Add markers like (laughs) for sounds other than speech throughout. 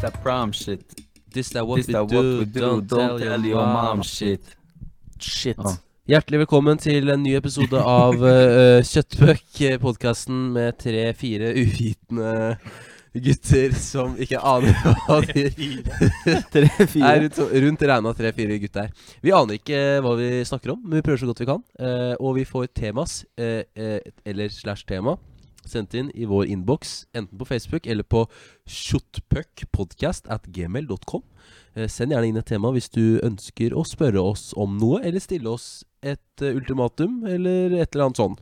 that prom shit. This that what, This we, that do, what we do. don't, Don't tell your mom shit. (laughs) Shit. Ah. Hjertelig velkommen til en ny episode av eh, Kjøttbøk, eh, podkasten med tre-fire uvitende gutter som ikke aner hva (laughs) de er rundt, rundt regna tre-fire gutter. Vi aner ikke eh, hva vi snakker om, men vi prøver så godt vi kan. Eh, og vi får temas, eh, eh, eller slash tema, sendt inn i vår innboks, enten på Facebook eller på kjottpuckpodcast at gmail.com. Eh, Send gjerne inn et tema hvis du ønsker å spørre oss om noe, eller stille oss et eh, ultimatum, eller et eller annet sånn.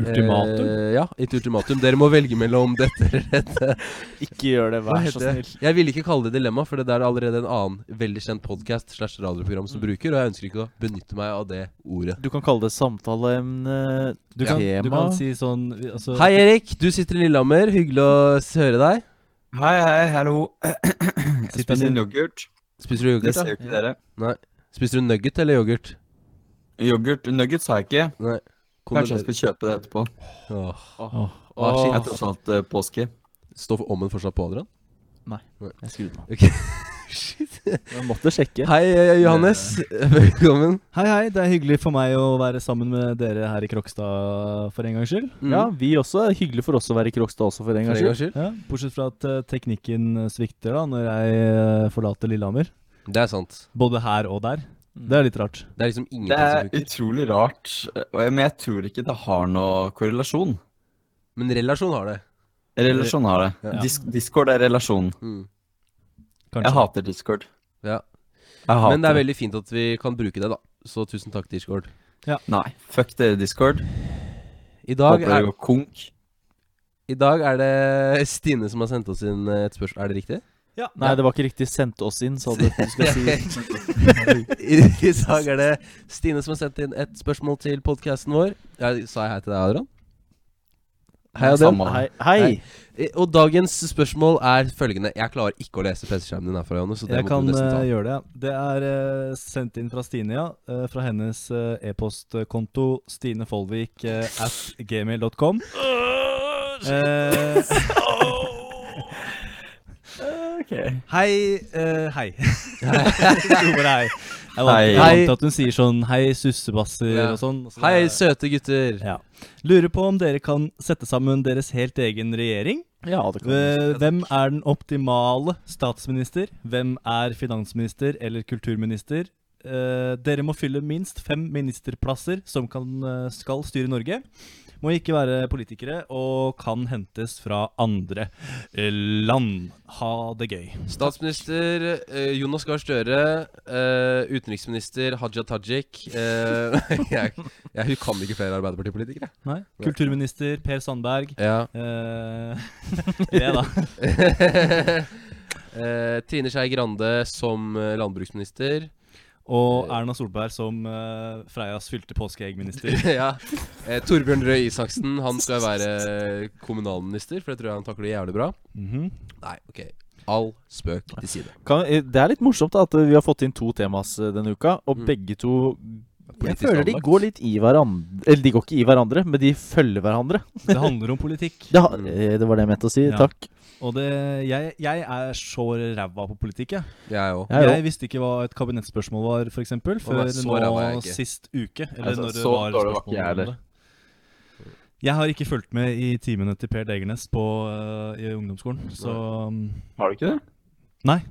Ultimatum? Eh, ja, et ultimatum. Dere må velge mellom dette eller dette. Ikke gjør det, Hva vær heter så det? snill. Jeg ville ikke kalle det dilemma, for det der er allerede en annen veldig kjent podkast slash radioprogram Mm. som bruker, og jeg ønsker ikke å benytte meg av det ordet. Du kan kalle det samtaleemne, Du kan, tema du kan si sånn altså, Hei, Erik. Du sitter i Lillehammer. Hyggelig å s- høre deg. hei, hei, hallo. Jeg Spenner. spiser en yoghurt. Spiser du Det yoghurt? ser da? jo ikke dere. Spiser du nugget eller yoghurt? Yoghurt Nuggets har jeg ikke. Nei. Kanskje jeg skal kjøpe det etterpå. Åh, Åh, Åh, shit. Det er tross alt eh, påske. Står ommen fortsatt på, Adrian? Jeg skrudde meg. (laughs) Shit. Jeg måtte sjekke. Hei, eh, Johannes. (laughs) Velkommen. Hei, hei. Det er hyggelig for meg å være sammen med dere her i Krokstad for en gangs skyld. Mm. Ja, vi også. er Hyggelig for oss å være i Krokstad også, for for en gangs en gangs skyld. skyld. Ja, bortsett fra at eh, teknikken svikter da når jeg eh, forlater Lillehammer. Det er sant. Både her og der. Mm. Det er litt rart. Det er liksom ingenting Det som er funker. utrolig rart, og jeg- men jeg tror ikke det har noe korrelasjon. Men relasjon har det. Relasjon har det. Ja. Dis Discord er relasjon. Mm. Jeg Kanskje. hater Discord. Ja. Jeg hater Men det er veldig fint at vi kan bruke det, da. Så tusen takk, Discord. Nei, fuck dere, Discord. I dag Håper dere er, går konk. i dag er det Stine som har sendt oss inn eh, et spørsmål. Er det riktig? Nei, det var ikke riktig 'sendt oss inn', sa du. Du (laughs) skal si (laughs) I i dag er det Stine som har sendt inn et spørsmål til podkasten vår. Jeg, sa jeg hei til deg, Adrian? Hei, Adrian. Samme. hei. hei. Eh, Og dagens spørsmål er følgende. Jeg klarer ikke å lese PC-skjermen din herfra, Johannes. Så det Jeg må kan du nesten eh, ta. gjøre det. ja. Det er eh, sendt inn fra Stine, ja. Eh, fra hennes eh, e-postkonto stinefolvik eh, at gmail.com. Eh, (laughs) Hei, eh, (laughs) hei. Jo, bare hei. Jeg vant, Hei. jeg vant til at hun sier sånn hei, sussebasser Ja. og sånn. og så Hei, det- søte gutter. ja. Lurer på om dere kan sette sammen deres helt egen regjering. Ja, det kan du. Eh, Hvem er den optimale statsminister? Hvem er finansminister eller kulturminister? Eh, dere må fylle minst fem ministerplasser som kan, eh, skal styre Norge. Må ikke være politikere og kan hentes fra andre eh, land. Ha det gøy. Statsminister eh, Jonas Gahr Støre. eh, utenriksminister Haja Tajik. eh, (laughs) jeg, jeg hun kan ikke flere Arbeiderpartipolitikere. Nei. Kulturminister Per Sandberg. Ja. Eh, (laughs) det, da. (laughs) Eh, Trine Skei Grande som eh, landbruksminister. Og Erna Solberg som eh, Freias fylte påskeeggminister. (laughs) ja. Eh, Torbjørn Røe Isaksen han skal være kommunalminister, for det tror jeg han takler jævlig bra. Mhm. Nei, OK. All spøk til side. Kan, eh, det er litt morsomt da, at eh, vi har fått inn to temas eh, denne uka, og Mm. begge to Jeg Politisk føler de anlagt. går litt i hverandre Eller de går ikke i hverandre, men de følger hverandre. Det handler om politikk. Ja, eh, det var det jeg mente å si. Ja. Takk. Og det, jeg, jeg er så ræva på politikk, jeg. Jeg òg. Jeg Jeg, er visste ikke hva et kabinettspørsmål var, f.eks., før nei, så ræva er jeg nå ikke. sist uke. Eller Altså, når det så var dårlig var ikke spørsmål jeg om heller. det. Jeg har ikke fulgt med i timene til Per Degernes på, eh, i ungdomsskolen, så um, Har du ikke det? Nei.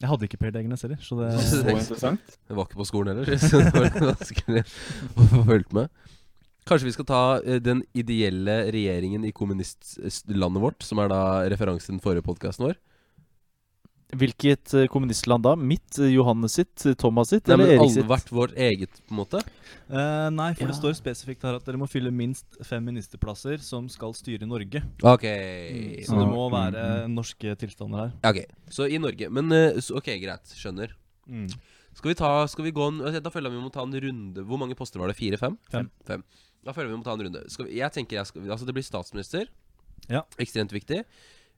Jeg hadde ikke Per Degernes heller, så (laughs) det Så interessant. Jeg var ikke på skolen heller, (laughs) så det var vanskelig å få fulgt med. Kanskje vi skal ta eh, den ideelle regjeringen i kommunistlandet vårt, som er da referansen til den forrige podkasten vår. Hvilket eh, kommunistland da? Mitt, eh, Johannes sitt, eh, Thomas sitt Nei, eller men Erik alle sitt? hvert vårt eget, på en måte. Eh, nei, for Ja. det står spesifikt her at dere må fylle minst fem ministerplasser som skal styre Norge. Ok. Mm. Så det må være norske tilstander her. Ok, Så i Norge. Men eh, så, ok, greit. Skjønner. Mm. Skal vi ta Skal vi gå en altså, Da føler jeg vi må ta en runde. Hvor mange poster var det? Fire? Fem? Fem. Fem. Da føler jeg vi må ta en runde. Skal vi, jeg tenker jeg skal Altså, det blir statsminister. Ja. Ekstremt viktig. Ja,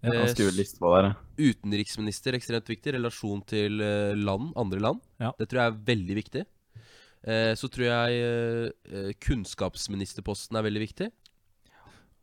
Eh, Ganske liste på det. utenriksminister ekstremt viktig. Relasjon til eh, land, andre land. Ja. Det tror jeg er veldig viktig. Eh, Så tror jeg eh, eh, kunnskapsministerposten er veldig viktig.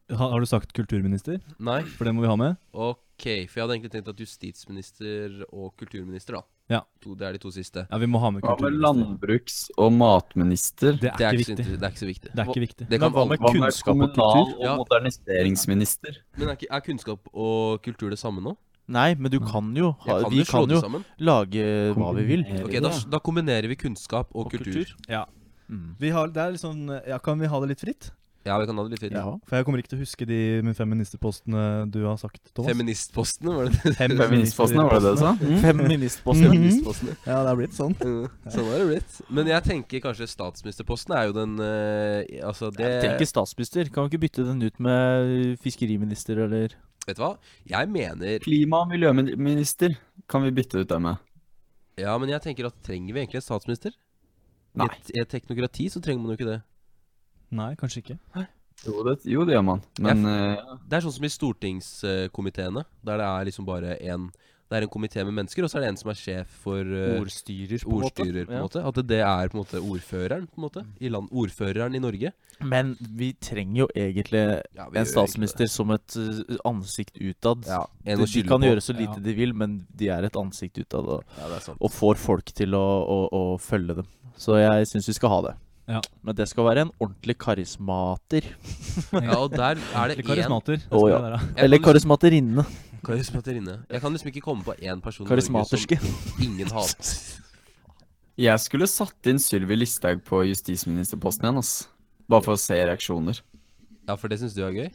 Ha, har du sagt kulturminister? Nei? For det må vi ha med. Ok, for jeg hadde egentlig tenkt at justisminister og kulturminister, da. Ja. To, det er de to siste. Ja, vi må ha med Hva med kulturminister. landbruks- og matminister? Det er, Det er, ikke ikke så, viktig. inter- det er ikke så viktig. Det er ikke viktig. Det Men kan hva alle- med Hva med kunnskap og kommunal- kultur? og Ja. moderniseringsminister? Men er, ikke, er kunnskap og kultur det samme nå? Nei, men du kan jo ha, Jeg kan Vi jo slå Mm. kan det jo sammen. lage eh, hva vi vil. Kombinere Ok, det, da, ja. da kombinerer vi kunnskap og, kultur. Ja. Mm. Vi har, det er litt sånn Ja, kan vi ha det litt fritt? Ja, vi kan ha det litt fint. Ja. For jeg kommer ikke til å huske de med feministpostene du har sagt, Thomas. Feministpostene, var det det? Feministpostene, var det det du sa? Mm. Feministposten. Feministpostene. Ja, det er blitt sånn. Mm, Sånn er det blitt. Men jeg tenker kanskje statsministerposten er jo den eh, Altså, det Jeg tenker statsminister. Kan vi ikke bytte den ut med fiskeriminister eller Vet du hva? Jeg mener Klima- og miljøminister kan vi bytte ut det med. Ja, men jeg tenker at trenger vi egentlig en statsminister? Nei. I et- I et teknokrati så trenger man jo ikke det. Nei, kanskje ikke. Jo, det, jo, det gjør man. Men eh, Det er sånn som i stortingskomiteene, der det er liksom bare en Det er en komité med mennesker, og så er det en som er sjef for eh, ordstyrer? på en måte? ordstyrer, på en Ja. måte. At det er på en måte ordføreren, på en måte. I land, ordføreren i Norge. Men vi trenger jo egentlig Ja, vi gjør en egentlig statsminister det. som et uh, ansikt utad. Ja, en De, å de skylde kan på. gjøre så lite Ja. de vil, men de er et ansikt utad og, Ja, det er sant. og får folk til å, å, å følge dem. Så jeg syns vi skal ha det. Ja. Men det skal være en ordentlig karismater. Ja, og der er det Litt én karismater. det Å, skal ja. det være. Jeg Eller kan karismaterinne. Karismaterinne. Jeg kan liksom ikke komme på én person i Norge Karismaterske. som ingen hater. jeg skulle satt inn Sylvi Listhaug på justisministerposten igjen, ass. Bare for å se reaksjoner. Ja, for det syns du er gøy?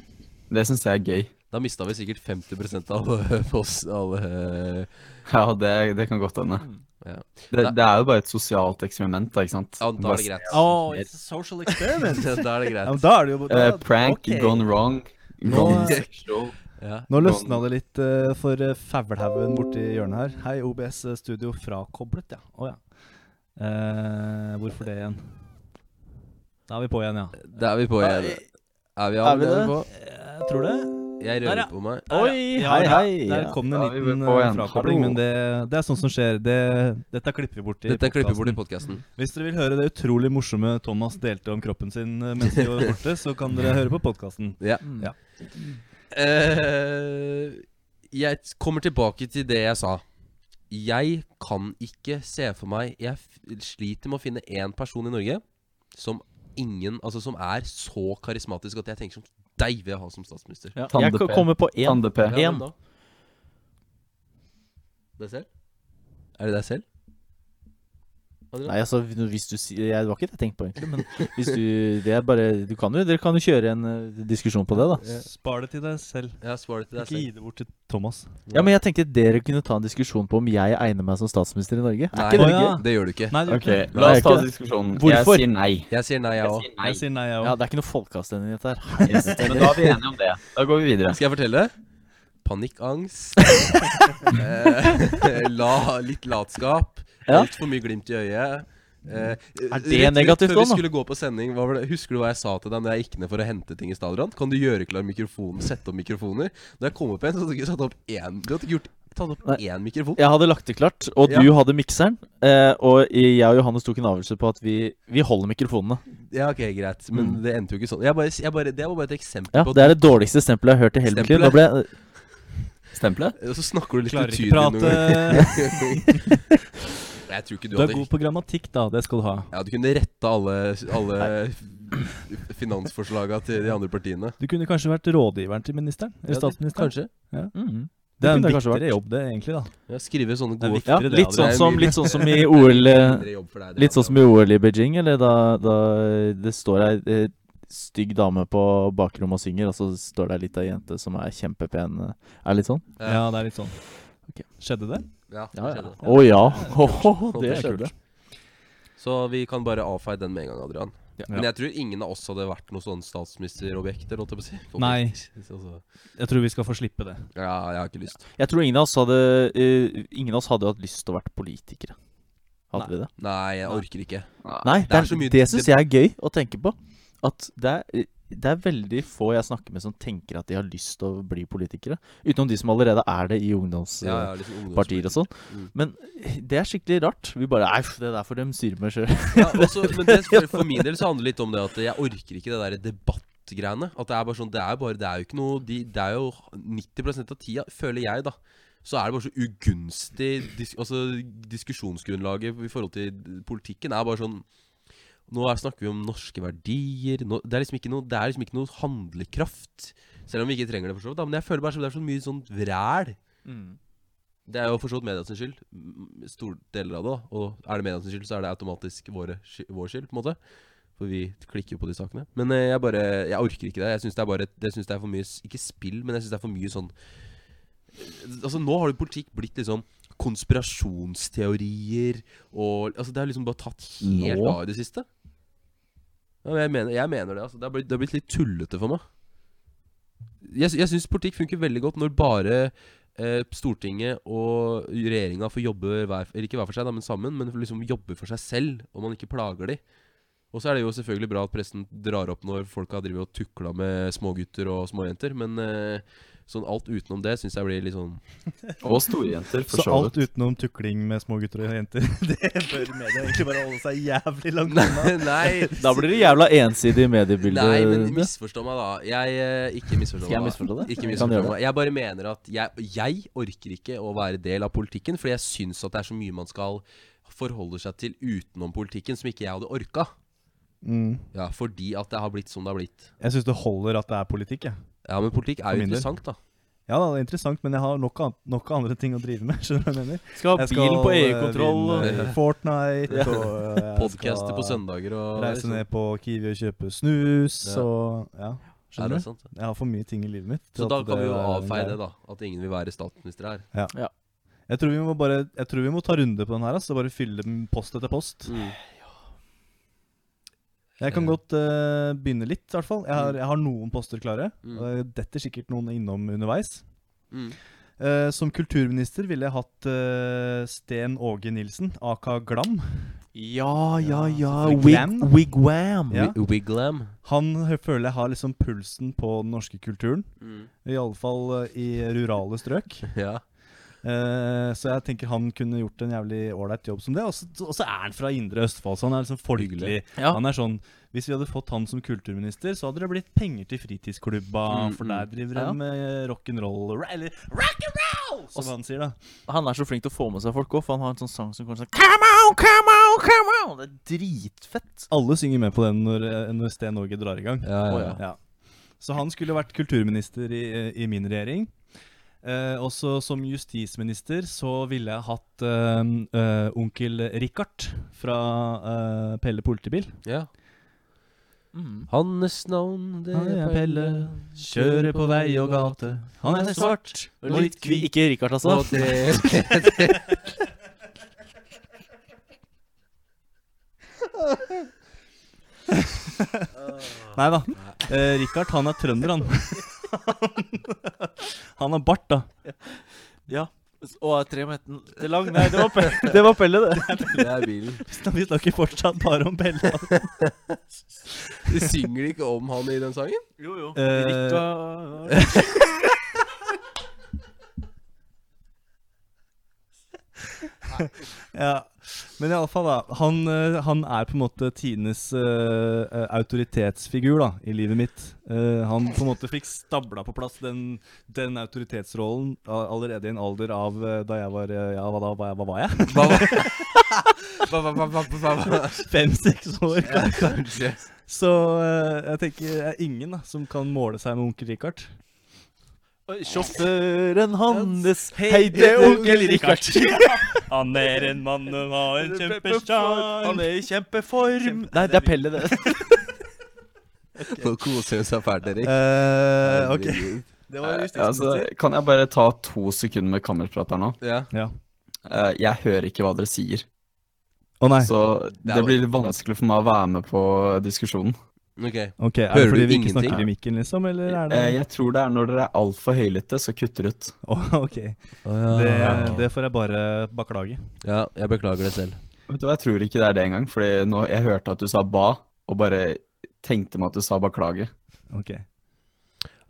Det syns jeg er gøy. (laughs) Da mista vi sikkert 50 av alle eh, oss alle Ja, det, det kan godt hende. Mm, Ja. Det, det er jo bare et sosialt eksperiment, da, ikke sant? Ja, da er det Bare- greit. Oh, it's a social experiment. Da er det ja, men greit. da er det jo da, Eh, prank ok. gone wrong. Nå- Gone sexual. Ja. Nå løsna det litt eh, for eh, Fævelhaugen borti hjørnet her. Hei, OBS eh, Studio frakoblet, ja. Å ja. Eh, hvorfor det igjen? Da er vi på igjen, ja. Da er vi på igjen. Er vi av? Er vi Det er det? vi på. Jeg Eh, tror det. Jeg Der, rører ja. på meg. Oi, Ja, hei, ja, hei. Der Ja. kom det Da en er vi liten på eh, igjen. frakobling, Hallo. men det, det er sånt som skjer. Det, dette klipper vi bort i Dette klipper vi bort i podcasten. podkasten. Hvis dere vil høre det utrolig morsomme Thomas delte om kroppen sin eh, mens vi var borte, så kan dere høre på podkasten. Mm. Ja. Eh, jeg t- kommer tilbake til det jeg sa. Jeg kan ikke se for meg Jeg f sliter med å finne én person i Norge som ingen Altså som er så karismatisk at jeg tenker som deg vil jeg ha som statsminister. Ja. Jeg Tande-P. kan komme på én. Tande-P. Ja, En. hvem da? Deg selv? Er det deg selv? Adrian? Nei, altså, hvis du sier Jeg det var ikke det jeg tenkte på, egentlig. Men hvis du Det er bare Du kan jo Dere kan jo kjøre en eh, diskusjon på det, da. Spar det til deg selv. Jeg har svart til deg Ikke selv. gi det bort til Thomas. Ja, men jeg tenkte dere kunne ta en diskusjon på om jeg egner meg som statsminister i Norge. Nei, Er ikke det Å, gøy? ja. det gjør du ikke. Nei, det gjør Ok, ikke det. la Nei, oss ta ikke det. diskusjonen. Hvorfor? Jeg sier nei. Jeg sier nei, jeg Jeg òg. sier nei. Jeg sier nei, Ja, jeg òg. det er ikke noe folkeavstemning i dette her. Yes. Men da er vi enige om det. Da går vi videre. Skal jeg fortelle? (laughs) Panikkangst. eh, la, litt latskap. Ja. Altfor mye glimt i øyet. Eh, Er det rett- rett negativt Før vi også, da? skulle gå på sending, hva var det? husker du hva jeg sa til deg når jeg gikk ned for å hente ting i stad? Adrian? Kan du gjøre klar mikrofonen, sette opp mikrofoner? Når jeg kom opp igjen, så hadde du ikke satt opp én Du hadde ikke gjort tatt opp Nei. én mikrofon. Jeg hadde lagt det klart, og du hadde mikseren. Eh, og jeg og Johannes tok en avgjørelse på at vi, vi holder mikrofonene. Ja, ok, greit. Men det endte jo ikke sånn. Jeg bare, jeg bare, det var bare et eksempel Mm. Ja, på Det er det dårligste stempelet jeg har hørt i hele mitt liv. Da ble jeg- Stempelet? Og så snakker du litt Klarer utydelig (laughs) ikke prate. noen (laughs) ganger. Jeg tror ikke du, Du er hadde god på grammatikk, da. Det skal du ha. Ja, du kunne retta alle, alle f- finansforslaga til de andre partiene. Du kunne kanskje vært rådgiveren til ministeren? Eller statsministeren? Kanskje. Mhm. Det er en kunne jeg kanskje viktigere jobb, det, egentlig. da Ja, skrive sånne Det er gode viktig. Ja, det, litt Adrian. sånn som, litt sånn som i Det OL er eh, mindre jobb for deg, det Litt er sånn som i OL i Beijing, eller da, da det står ei eh, stygg dame på bakrommet og synger, og så står det ei lita jente som er kjempepen. eh, Er litt sånn? Ja. Ja, det er litt sånn. Ok. Skjedde det? Ja, det Ja, ja. skjedde. Å ja. (laughs) Ho, ho, ho, Det det er kult. skjedde. Så vi kan bare avfeie den med en gang, Adrian. Ja. Men jeg tror ingen av oss hadde vært noen sånne statsministerobjekter. holdt jeg på å si. Nei. Så- så- Jeg tror vi skal få slippe det. Ja, jeg har ikke lyst. Jeg tror ingen av oss hadde eh, Ingen av oss hadde hatt lyst til å være politikere. Hadde vi det? Nei, jeg orker ikke. Nei, det, Det er er- så mye- det syns det- jeg er gøy å tenke på. At det er, det er veldig få jeg snakker med som tenker at de har lyst til å bli politikere. Utenom de som allerede er det i Ja, jeg ungdomspartier har liksom og sånn. Mm. Men det er skikkelig rart. Vi bare Nei, pff, det der får dem styre med sjøl. Ja, også, men det, for, for min del så handler det litt om det at jeg orker ikke det der debatt plot-greiene. At det er bare sånn Det er jo bare Det er jo ikke noe de, Det er jo 90 av tida, føler jeg, da. Så er det bare så ugunstig dis Altså Diskusjonsgrunnlaget i forhold til politikken er bare sånn Nå er, snakker vi om norske verdier nå, det, er liksom ikke noe, det er liksom ikke noe handlekraft. Selv om vi ikke trenger det, for så vidt. da, Men jeg føler bare så, det er så mye sånn vræl. Det er jo for så vidt media sin skyld. m- Store deler av det. da. Og er det media sin skyld, så er det automatisk våre, sky- vår skyld, på en måte. For vi klikker jo på de sakene. Men eh, jeg bare Jeg orker ikke det. Jeg syns det er bare Jeg synes det er for mye s- Ikke spill, men jeg syns det er for mye sånn Altså, nå har jo politikk blitt liksom konspirasjonsteorier og Altså, det er liksom bare tatt helt Nå? av i det siste. Ja, men jeg mener, jeg mener det, altså. Det har blitt, det har blitt litt tullete for meg. Jeg, sy- jeg syns politikk funker veldig godt når bare eh, Stortinget og regjeringa får jobbe hver, eller ikke hver for seg, da, men sammen, men liksom jobber for seg selv, og man ikke plager de. Og så er det jo selvfølgelig bra at pressen drar opp når folk har drevet og tukla med smågutter og småjenter, men eh, sånn alt utenom det syns jeg blir litt sånn (laughs) Og storjenter, for Så så alt vidt. utenom tukling med små gutter og jenter, (laughs) det bør media egentlig bare holde seg jævlig langt unna. Nei, nei, Da blir det jævla ensidig mediebilde. nei men misforstå meg, da. Jeg eh, Ikke misforstå Skal jeg meg. misforstå det? Ikke Kan misforstå gjøre det. meg. Jeg bare mener at jeg, jeg orker ikke å være del av politikken, fordi jeg syns at det er så mye man skal forholde seg til utenom politikken, som ikke jeg hadde orka. Mm. Ja, fordi at det har blitt som det har blitt. Jeg syns det holder at det er politikk, jeg. Ja, men politikk For er jo min del. interessant, da. Ja da, det er interessant, men jeg har nok, an nok andre ting å drive med. (laughs) Skjønner du hva jeg mener? Skal ha Jeg bilen på eh, EU-kontroll. vinne, eh, Fortnite Ja. og (laughs) eh, jeg Podcaster skal på søndager og liksom. Reise ned på Kiwi og kjøpe snus Ja. og Ja, Ja, det skjønner er du? sant. Jeg har for mye ting i livet mitt. Så til da at kan vi jo er en avfeie greie. det, da. At ingen vil være statsminister her. Jeg tror vi må bare Jeg tror vi må ta runde på den her. Altså. Bare fylle den post etter post. Jeg kan Eh. godt eh, begynne litt, i hvert fall. Jeg har, jeg har noen poster klare. Mm. og det Detter sikkert noen innom underveis. Mm. Eh, som kulturminister ville jeg hatt eh, Sten Åge Nilsen, aka Glam. Ah, Ja, ja, ja. Wigwam. Ah, Wig- Wigwam. Ja. Wi- Mm. Wiglam. Han hø- føler jeg har liksom pulsen på den norske kulturen. I alle fall eh, i rurale strøk. (laughs) Ja. Eh, så jeg tenker han kunne gjort en jævlig ålreit jobb som det. Og så og så er han fra indre Østfold, så han er liksom folkelig. Ja. Han er sånn, Hvis vi hadde fått han som kulturminister, så hadde det blitt penger til fritidsklubba, Mm, for mm. der driver de Ja. med rock'n'roll ra- Eller rock'n'roll, som Og s- han sier, da. Han er så flink til å få med seg folk òg, for han har en sånn sang som kommer sånn Come on, come on, come on! Det er dritfett. Alle synger med på den når, eh, når Sten Åge drar i gang. Ja, ja, Å, ja. Ja. Så han skulle vært kulturminister i, i min regjering. Eh, også som justisminister så ville jeg hatt eh, eh, onkel Richard fra eh, Pelle politibil. ja. Mm. Hans navn, det Han er er Pelle, kjører på vei og gate. Han er svart og litt hvit. Ikke Richard, altså. Og det Nei da. Eh, Richard, han er trønder, (laughs) han. han har bart, da. Ja. Og er tre meter til lang. Nei, det var Pelle, (laughs) det. Var pelle, det. Det er bilen. Så Vi snakker fortsatt bare om Pelle. altså. De synger ikke om han i den sangen? Jo, jo. Eh, Rikka Ja. Men iallfall, da. Han, eh, han er på en måte tidenes eh, eh, autoritetsfigur da, i livet mitt. Eh, han på en måte fikk stabla på plass den, den autoritetsrollen a- allerede i en alder av eh, da jeg var eh, Ja, hva da? Hva, hva var jeg? (laughs) Hva var hva, hva, hva, hva, hva, (laughs) hva? Fem-seks år. Kanskje. Så eh, jeg tenker det er ingen da, som kan måle seg med onkel Richard. Sjåføren hans Hei, det er onkel Richard. (laughs) Han er en mann og har en Han er i kjempeform. Nei, det er Pelle, det. Nå koser hun seg fælt, Erik. Eh, ok, det var Eh, altså, justisminister. kan jeg bare ta to sekunder med kammerprat her nå? Ja. Ja. Eh, jeg hører ikke hva dere sier, Å nei. så Det det, er jo- blir litt vanskelig for meg å være med på diskusjonen. Ok. Ok, Er Hører det du fordi vi ikke ingenting? snakker i mikken, liksom? Eller er det Eh, jeg tror det er når dere er altfor høylytte, så kutter ut. Å, Ok, det, Ah. det får jeg bare beklage. Ja, jeg beklager det selv. Vet du hva, Jeg tror ikke det er det engang, fordi nå, jeg hørte at du sa ba, og bare tenkte meg at du sa beklage. Ok.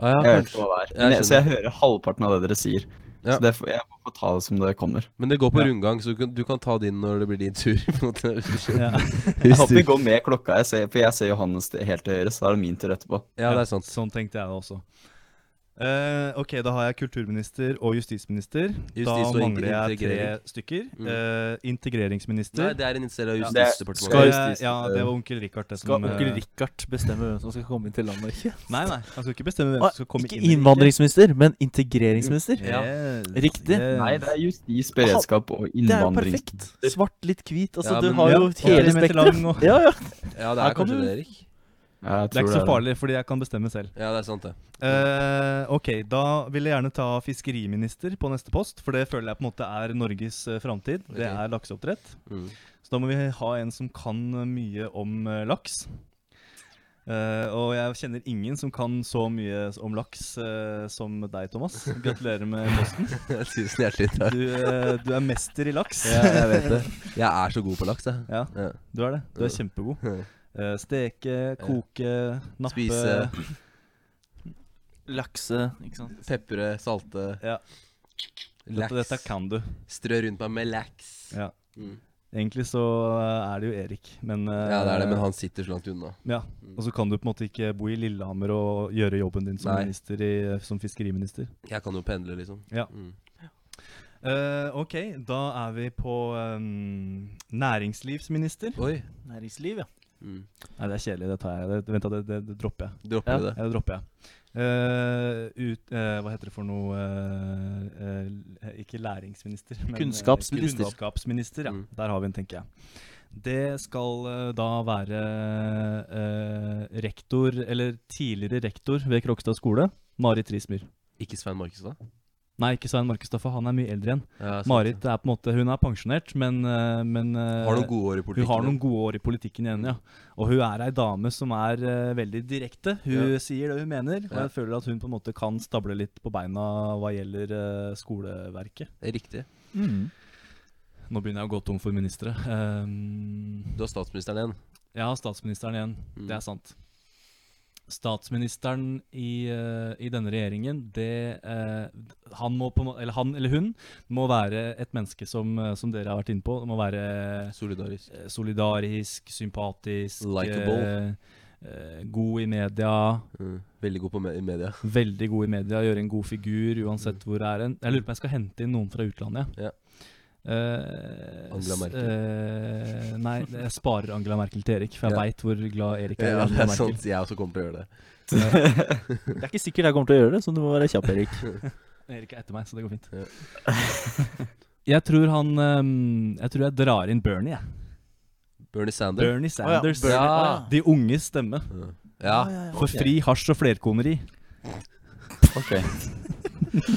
Ah, ja, Jeg vet kanskje. ikke hva det er. Jeg Men- Så jeg hører halvparten av det dere sier. Ja. Så det får, jeg får ta det som det kommer. Men det går på Ja. rundgang, så du kan, du kan ta din når det blir din tur. (laughs) på en måte. Ja. Jeg håper vi går med klokka, jeg ser, for jeg ser Johannes til- helt til høyre, så da er det min tur etterpå. ja, det er sant. Sånn tenkte jeg det også. Eh, ok, da har jeg kulturminister og justisminister. Justis- da og mangler jeg tre integrering. stykker. Mm. Eh, integreringsminister. Nei, det er en innstilling av Ja, det er- Eh, Skal- Justisdepartementet. justis- ja, det var onkel Richard. det Skal som, eh, onkel Richard bestemme hvem som skal komme inn til landet og ikke? Nei, nei, han skal ikke bestemme hvem Ah, som skal komme ikke inn. innvandringsminister, men integreringsminister. Ja. Yes, Riktig. yes. Nei, det er justis, beredskap og Det er jo innvandring. perfekt. Svart, litt hvit. Altså, Ja, du men- har jo Ja, hele tre meter lang og- spekteret. Ja, ja. Ja, det Her er kan kanskje du- det, Erik. Ja, jeg det er tror ikke så farlig, fordi jeg kan bestemme selv. Ja, det er sant, det. Eh, ok, da vil jeg gjerne ta fiskeriminister på neste post, for det føler jeg på en måte er Norges eh, framtid. Ok. Det er lakseoppdrett. (laughs) Mm. Så da må vi ha en som kan eh, mye om eh, laks. Eh, og jeg kjenner ingen som kan så mye s- om laks eh, som deg, Thomas. Gratulerer med posten. Tusen hjertelig takk. Du, eh, du er mester i laks. Ja, jeg vet det. (laughs) Jeg er så god på laks, jeg. Ja, Ja. (laughs) du er det. Du er kjempegod. Eh, steke, koke, nappe Spise, Lakse, ikke sant. pepre, salte, Ja. Dette, laks. dette kan du. Strø rundt meg med laks. Ja. Mm. Egentlig så eh, er det jo Erik, men eh, Ja, det er det, men han sitter så langt unna. Ja, Mm. og så kan du på en måte ikke bo i Lillehammer og gjøre jobben din som, Nei. minister i, eh, som fiskeriminister. Jeg kan jo pendle, liksom. Ja. Mm. Eh, ok, da er vi på ehm, næringslivsminister. Oi. Næringsliv, ja. Mm. Nei, det er kjedelig. Det tar jeg. Det, vent, da, det, det, det dropper jeg. Dropper du det? Ja, det dropper jeg. Eh, ut, eh, hva heter det for noe eh, eh, Ikke læringsminister, men eh, Kunnskapsminister. Kunnskapsminister, ja. Mm. Der har vi den, tenker jeg. Det skal eh, da være eh, rektor, eller tidligere rektor ved Krokstad skole, Marit Rismyr. Ikke Svein Markestad? Nei, ikke Svein Markestad, for han er mye eldre igjen. Ja, sant. Marit er på en måte, hun er pensjonert, men, eh, men eh, Har noen gode år i hun politikken. har noen gode år i politikken igjen, ja. Og hun er ei dame som er eh, veldig direkte. Hun Ja. sier det hun mener, og Ja. jeg føler at hun på en måte kan stable litt på beina hva gjelder eh, skoleverket. Det er Riktig. Mm. Nå begynner jeg å gå tom for ministre. Um, Du har statsministeren igjen. jeg har statsministeren igjen, Mm. det er sant. Statsministeren i, eh, i denne regjeringen, det eh, Han må på en må- Eller han eller hun må være et menneske som, eh, som dere har vært inne på. Det må være Solidarisk. eh, solidarisk, sympatisk Likeable. eh, eh, god i media. Mm. Veldig god på me i media. Veldig god i media, gjøre en god figur uansett hvor det er en. Jeg lurer på om jeg skal hente inn noen fra utlandet. Ja. Eh, Angela s- Merkel. eh, nei, jeg sparer Angela Merkel til Erik, for jeg Ja. veit hvor glad Erik er. i Ja, (laughs) det Angela er Merkel. sant. Jeg også kommer til å gjøre det. Det er ikke sikkert jeg kommer til å gjøre det, så du må være kjapp, Erik. Erik er etter meg, så det går fint. Ja. (laughs) jeg tror han ehm, Jeg tror jeg drar inn Bernie, jeg. Bernie Sanders. Bernie Å ja, Sanders. Bernie, Ja. å De unges stemme. Ja, For fri hasj og flerkoneri. Ok.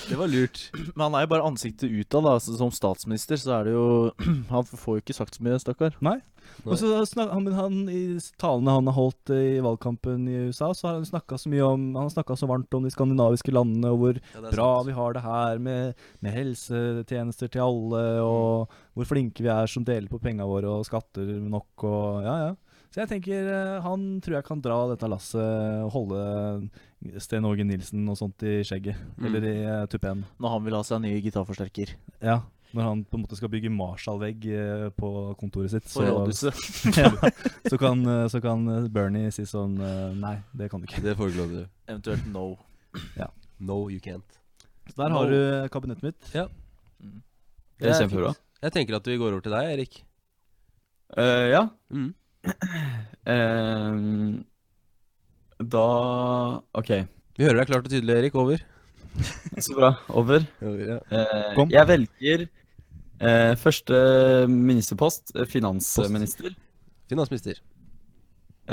det var lurt. Men han er jo bare ansiktet utad, da. Så som statsminister så er det jo (clears throat) Han får jo ikke sagt så mye, stakkar. Og så snak, han, men han, I talene han har holdt eh, i valgkampen i USA, så har han snakka så mye om Han har snakka så varmt om de skandinaviske landene, og hvor Ja, det er bra sant. vi har det her med, med helsetjenester til alle, Mm. og hvor flinke vi er som deler på penga våre og skatter nok og Ja, ja. Så jeg tenker eh, han tror jeg kan dra dette lasset og holde Sten Åge Nilsen og sånt i skjegget. Mm. Eller i uh, tupeen. Når han vil ha seg en ny gitarforsterker Ja. Når han på en måte skal bygge Marshall-vegg eh, på kontoret sitt. på rådhuset. (laughs) så, kan, eh, så kan eh, Bernie si sånn eh, Nei, det kan du ikke. Det foreslår du. Eventuelt no. No, you can't. Så der har du eh, kabinettet mitt. Mm. Det er kjempebra. Jeg tenker at vi går over til deg, Erik. Eh, ja. Mm. (clears throat) Ehm, da OK. Vi hører deg klart og tydelig, Erik. Over. Så bra. Over. Over, ja. Eh, Kom. Jeg velger eh, første ministerpost, eh, finansminister. Finansminister.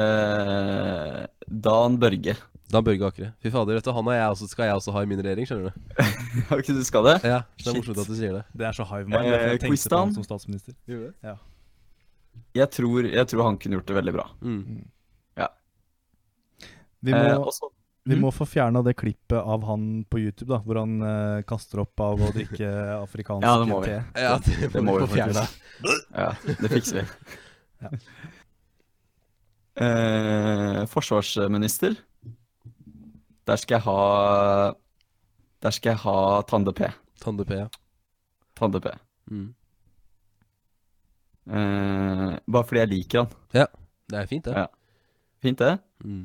Eh, Dan Børge. (laughs) Dan Børge Akre. Fy fader, dette han og jeg også, skal jeg også ha i min regjering, skjønner du. Har ikke du skal det? Ja, Det er Shit. morsomt at du sier det. Det er så hive mind. derfor Eh, Jeg tenkte på han Quistan? som statsminister. Jeg tror, jeg tror han kunne gjort det veldig bra. Mm. Vi Eh, må, og så- vi må få fjerna det klippet av han på YouTube, da, hvor han eh, kaster opp av å drikke (laughs) afrikansk Ja, det må vi. te. Ja, det, det må må vi vi få fjerna. ja, det fikser vi. (laughs) Ja. Eh, forsvarsminister. Der skal jeg ha Der skal jeg ha Tande P. Tande P, ja. Tande P. Mm. Eh, bare fordi jeg liker han. Det er fint, det. Ja. Fint, det. Mm.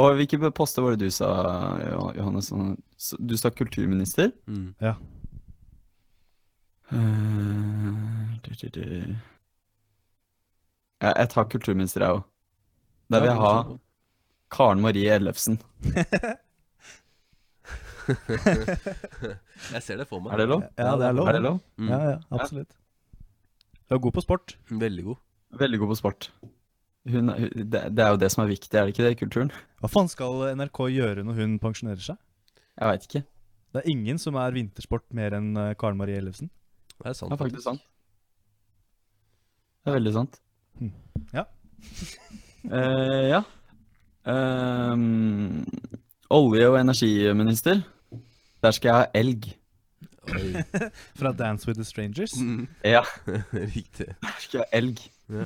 Og hvilke poster var det du sa, Jo- Johannes? Sånn- så- Du sa kulturminister? Mm. Eh, du, du, du. Ja, jeg tar kulturminister, jeg òg. Da vil jeg ha Karen Marie Ellefsen. Jeg ser det for meg. Er det lov? Ja, det er lov. Er det lov? Mm. Ja, ja, absolutt. Du er god på sport. Veldig god. Veldig god på sport. Hun, er- hun- det, det er jo det som er viktig, er det ikke det, i kulturen? Hva faen skal NRK gjøre når hun pensjonerer seg? Jeg veit ikke. Det er ingen som er vintersport mer enn eh, Karen Marie Ellefsen. Det er sant. Det er faktisk sant. Det er veldig sant. Hm. Ja. (laughs) Eh, ja. Ehm, olje- og energiminister. Der skal jeg ha elg. Oi. Fra Dance with the Strangers. (laughs) Mm. Ja, Riktig. der skal jeg ha elg. Ja.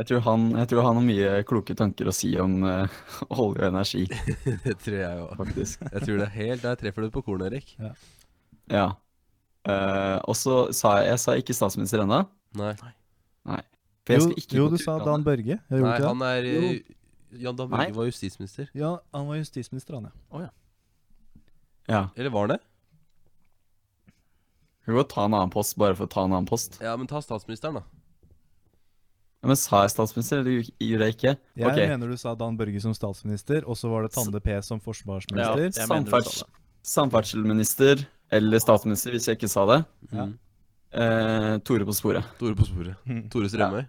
Jeg tror, han, jeg tror han har mye kloke tanker å si om eh, (laughs) olje og energi, Det tror jeg òg. (laughs) faktisk. Jeg tror det er helt Der treffer du på kornet, Erik. Ja. Eh, og så sa jeg Jeg sa ikke statsminister ennå. Nei, For jeg jo, skal ikke jo gå du til sa utlandet. Dan Børge. Jeg gjorde Nei ikke det. han er eh, Jo. Jan Dan Nei. Børge var justisminister. Ja, han var justisminister, han, ja. Ja. Eller var han det? Kan godt ta en annen post bare for å ta en annen post. Ja, men ta statsministeren, da. Ja, men sa jeg statsminister, eller gjorde jeg ikke? Jeg Ok. mener du sa Dan Børge som statsminister, og så var det Tande P som Ja, forsvarsminister. jeg mener du Samferds- sa Samferdselsminister eller statsminister, hvis jeg ikke sa det. Ja. Mm. Eh, Tore på sporet. Tore på sporet. Mm. Tore Strømøy.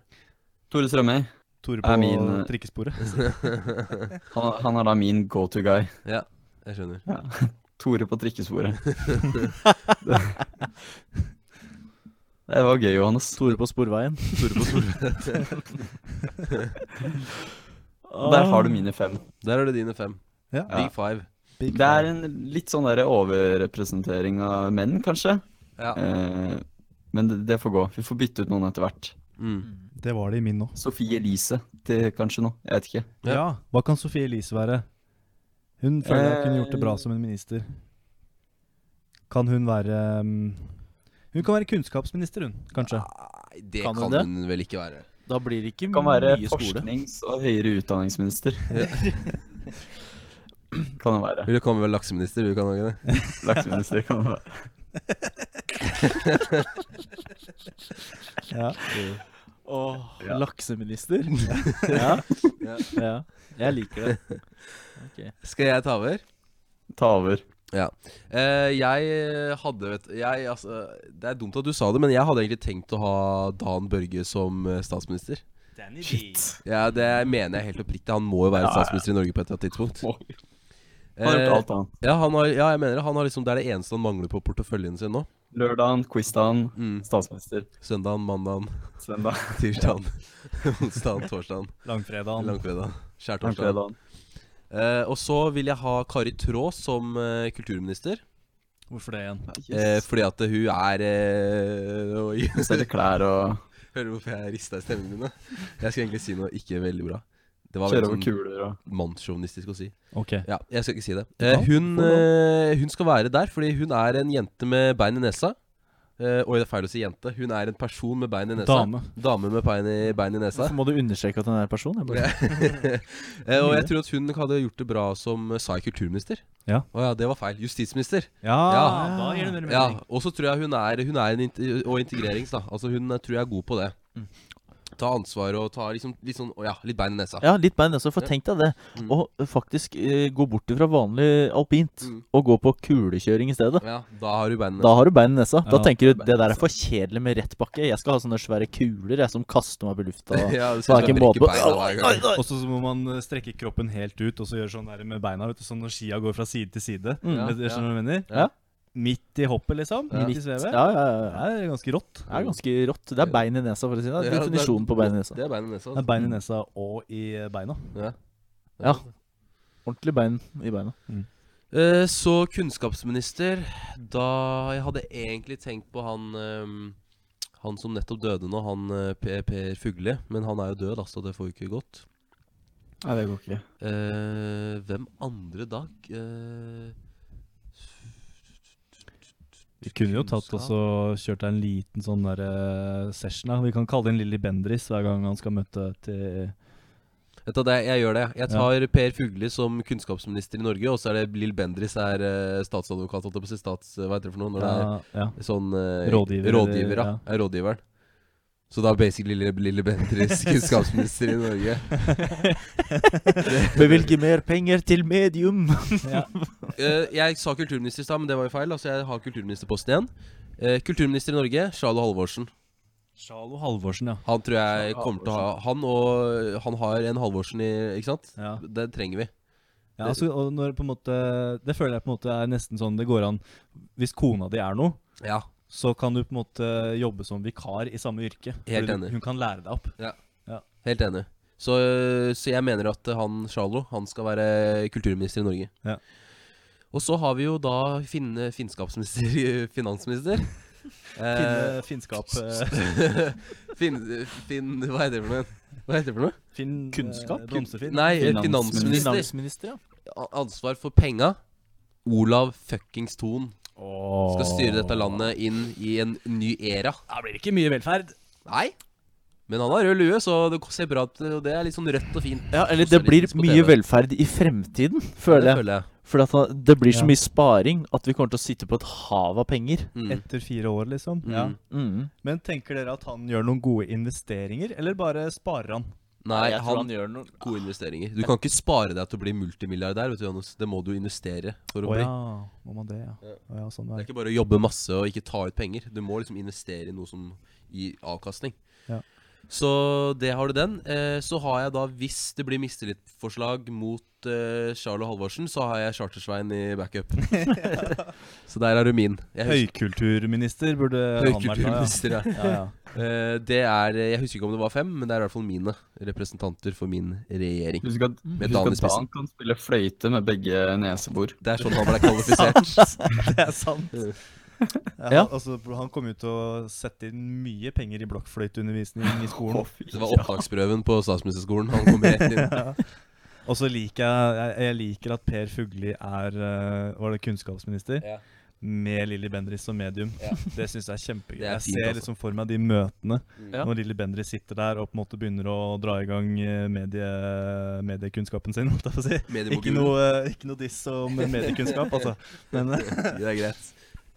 Tore Strømøy. Tore Er på min- trikkesporet. Han, han er da min go to guy. Ja, jeg skjønner. Tore på trikkesporet. (laughs) det var gøy, Johannes. Tore på Sporveien. Tore på sporet. Der har du mine Ah. fem. Der er det dine fem. (laughs) Ja. Big five. Big Det er fan. en litt sånn der overrepresentering av menn, kanskje. Ja. Eh, men det, det får gå. Vi får bytte ut noen etter hvert. Mm. Det var det i min nå. Sofie Elise til kanskje nå. Jeg vet ikke. Ja. Ja. Hva kan Sofie Elise være? Hun føler jeg kunne gjort det bra Eh. som en minister. Kan hun være mm, Hun kan være kunnskapsminister, hun, kanskje. Nei, det Kan kan, hun hun vel ikke være. Da blir det ikke Kan være mye skole. forsknings- og høyere utdanningsminister. (laughs) kan det være. Hun kan vel lakseminister, hun kan ikke det? Lakseminister kan det være. Ja. Åh, Ja. lakseminister. ja. Ja. ja. Jeg liker det. Skal jeg ta over? Ta over. Eh, jeg hadde vet, jeg, altså, Det er dumt at du sa det, men jeg hadde egentlig tenkt å ha Dan Børge som eh, statsminister. Shit. Ja, Det mener jeg helt oppriktig. Han må jo være Ja, ja. statsminister i Norge på et eller annet tidspunkt. Må. Han har Eh, gjort alt annet. Ja, han har, ja jeg mener det. Han har liksom, det er det eneste han mangler på porteføljen sin nå. Lørdagen, quizdagen, Mm. statsminister. Søndagen, mandagen, (laughs) Søndag, tirsdagen, (laughs) onsdagen, torsdagen, Langfredagen. langfredagen, skjærtorsdagen. fredagen. Eh, og så vil jeg ha Kari Traa som eh, kulturminister. Hvorfor det igjen? Eh, Yes. fordi at hun er eh, Oi, Hun selger klær og (laughs) hører du hvorfor jeg rista i stemmen min? da? Jeg skal egentlig si noe ikke veldig bra. Det var kjører over veldig sånn kuler og mannssjåvinistisk å si. Ok. Ja, jeg skal ikke si det. Ja, Eh, hun, får eh, hun skal være der, fordi hun er en jente med bein i nesa. Eh, oi, det er feil å si jente. Hun er en person med bein i nesa. Dame. Dame med bein i, bein i nesa. Hvorfor må du understreke at hun er en person? Jeg bare- Eh, Mm. og jeg tror at hun hadde gjort det bra som eh, sa jeg kulturminister. Ja. Å ja, det var feil. Justisminister. Ja, Ja. da gir det mer Ja, mening. Og så tror jeg hun er, hun er en inte- og integrerings, da. Altså hun eh, tror jeg er god på det. Mm. Ta ansvar og ta liksom, litt sånn Å ja, litt bein i nesa. Ja, litt bein også, altså. for Ja. tenk deg det. Mm. Å faktisk eh, gå bort ifra vanlig alpint Mm. og gå på kulekjøring i stedet. Ja, da har hun bein i Da nesa. har du bein i nesa. Da Ja. tenker du det der er for kjedelig med rett bakke. Jeg skal ha sånne svære kuler jeg som kaster meg på lufta. (laughs) Ja, det Så ser er ut som ikke jeg brekker måte på beina hver gang. Og så må man eh, strekke kroppen helt ut og så gjøre sånn der med beina, vet du, sånn når skia går fra side til side. Mm. Ja, Vet du skjønner du hva jeg mener? Ja. Midt i hoppet, liksom? Ja. Midt i svevet? Ja, ja, ja, ja. Det er ganske rått. Det er ganske rått. Det er bein i nesa, for å si det. Ja, Det er Definisjonen på bein i nesa. Det er bein i nesa. altså. Det er bein Mm. i nesa og i eh, beina. Ja. Ja. Ordentlig bein i (laughs) beina. Eh, så kunnskapsminister Da Jeg hadde egentlig tenkt på han ehm, Han som nettopp døde nå, han eh, Per, per Fugelli. Men han er jo død, da, så det får jo ikke gått. Nei, det går ikke. Eh, hvem andre dag? Eh, Du kunne jo tatt og så kjørt deg en liten sånn der, eh, session. Da. Vi kan kalle det en Lilly Bendris hver gang han skal møte til Vet du, hva, det, jeg gjør det. Jeg tar Per Fugli som kunnskapsminister i Norge, og så er det Lill Bendris er eh, statsadvokat, holdt jeg på å si. Stats... eh, Hva heter det for noe? Når ja, ja. det er sånn eh, Rådgiver, rådgiver ja. ja. Er rådgiveren. Så da er basically Lille, Lille Bendris kunnskapsminister i Norge. Bevilge mer penger til medium! Eh, jeg sa kulturminister i stad, men det var jo feil. Altså, jeg har kulturministerposten igjen. Eh, kulturminister i Norge, Charlo Halvorsen. Charlo Halvorsen, ja. Han tror jeg kommer til å ha Han og han har en Halvorsen i Ikke sant? ja. Det trenger vi. Ja, altså, og når på en måte, Det føler jeg på en måte er nesten sånn det går an Hvis kona di er noe, Ja. så kan du på en måte jobbe som vikar i samme yrke. Helt Fordi du- enig. Hun kan lære deg opp. Helt enig. Så, eh, så jeg mener at han Charlo han skal være kulturminister i Norge. Ja. Og så har vi jo da finne, finnskapsminister (laughs) Finansminister. (laughs) Finne finnskap eh, Eh, (laughs) Finn, finn Hva heter det for noe? Hva heter det for noe? Finn, Kunnskap? eh, Blomsterfinn. Nei, eh, Finans- finansminister. Finansminister, ja. A- Ansvar for penga. Olav fuckings Thon skal styre dette landet inn i en ny era. Da blir det ikke mye velferd. Nei. Men han har rød lue, så det ser bra ut. Og det er litt sånn rødt og fint. Ja, eller det blir Sosialistisk på mye TV. velferd i fremtiden, føler Det jeg. føler jeg. For at han- det blir så Ja. mye sparing at vi kommer til å sitte på et hav av penger. Mm. Etter fire år, liksom. Mm. Ja. Mm. Men tenker dere at han gjør noen gode investeringer, eller bare sparer han? Nei, jeg han tror han gjør noe gode investeringer. Du kan ikke spare deg til å bli multimilliardær. Vet du, Johannes. Det må du investere for å Å bli. ja, må man det, ja. Å ja, sånn Det er er det. ikke bare å jobbe masse og ikke ta ut penger. Du må liksom investere i noe som gir avkastning. Ja. Så det har du den. Eh, så har jeg da, hvis det blir mistillitsforslag mot eh, Charlo Halvorsen, så har jeg Chartersvein i (laughs) backup. så der er du min. Jeg husker- Høykulturminister burde han vært da, ja. Høykulturminister, ja. ja, ja. Eh, det er Jeg husker ikke om det var fem, men det er i hvert fall mine representanter for min regjering. Husk at, Med husk Dan i at spissen. Dan kan spille fløyte med begge nesebor. Det er sånn han ble (laughs) kvalifisert. Det er sant. Ja. Han, altså, han kommer jo til å sette inn mye penger i blokkfløyteundervisning i skolen. (laughs) Det var opptaksprøven på statsministerskolen. Han kom rett inn. Og så liker jeg, jeg, jeg liker at Per Fugli er eh, var det kunnskapsminister Ja. med Lilly Bendriss som medium. Ja. (laughs) Det syns jeg er kjempegøy. Det er Jeg fint, ser altså. Mm. liksom for meg de møtene Ja. når Lilly Bendriss sitter der og på en måte begynner å dra i gang eh, medie, mediekunnskapen sin. (laughs) holdt jeg på å si. Ikke Mediemogulen. noe, eh, ikke noe diss om mediekunnskap, (laughs) altså. Men eh, Det er greit.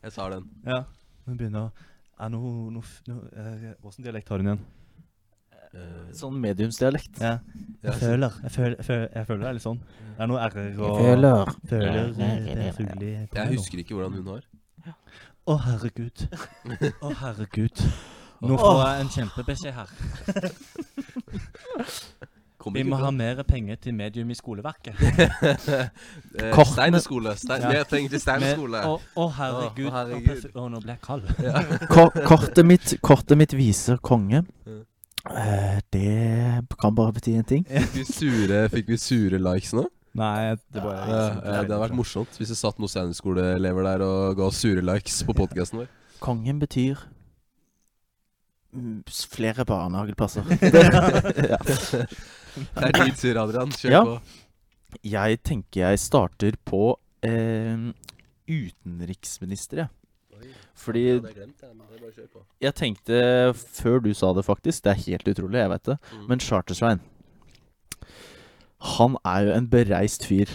Jeg tar den. ja. Hun begynner å er no, no, f- no, eh, Åssen dialekt har hun igjen? Eh, Sånn mediumsdialekt. Ja. ja. Mm. Jeg føler, jeg føler, jeg føler, jeg føler det er litt sånn. Det er noe r-er og Føler det er fuglig på Jeg meg nå. husker ikke hvordan hun har. Å, herregud. Å, herregud. (laughs) Nå får jeg en kjempebeskjed her. Kommer Vi ikke må på ha den. mer penger til medium i skoleverket. Eh, Kortene. Stein skole. Stein, Ja. Jeg trenger til Stein Men- skole. Å, å, Å, herregud. Å, herregud. perf- Å, nå ble jeg kald. Ko- Kortet mitt, kortet mitt viser konge. Ja. Eh, det kan bare bety én ting. Fikk vi sure, fikk vi sure likes nå? Nei, det Eh, eh, det hadde vært morsomt hvis det satt noen steinerskoleelever der og ga oss sure likes på podkasten vår. Kongen betyr mm, s- flere barnehageplasser. ja. Det er din tur, Adrian. Kjør Ja. på. Jeg tenker jeg starter på eh, utenriksminister, jeg. Fordi jeg tenkte, før du sa det faktisk, det er helt utrolig, jeg vet det, Mm. men Chartersvein Han er jo en bereist fyr.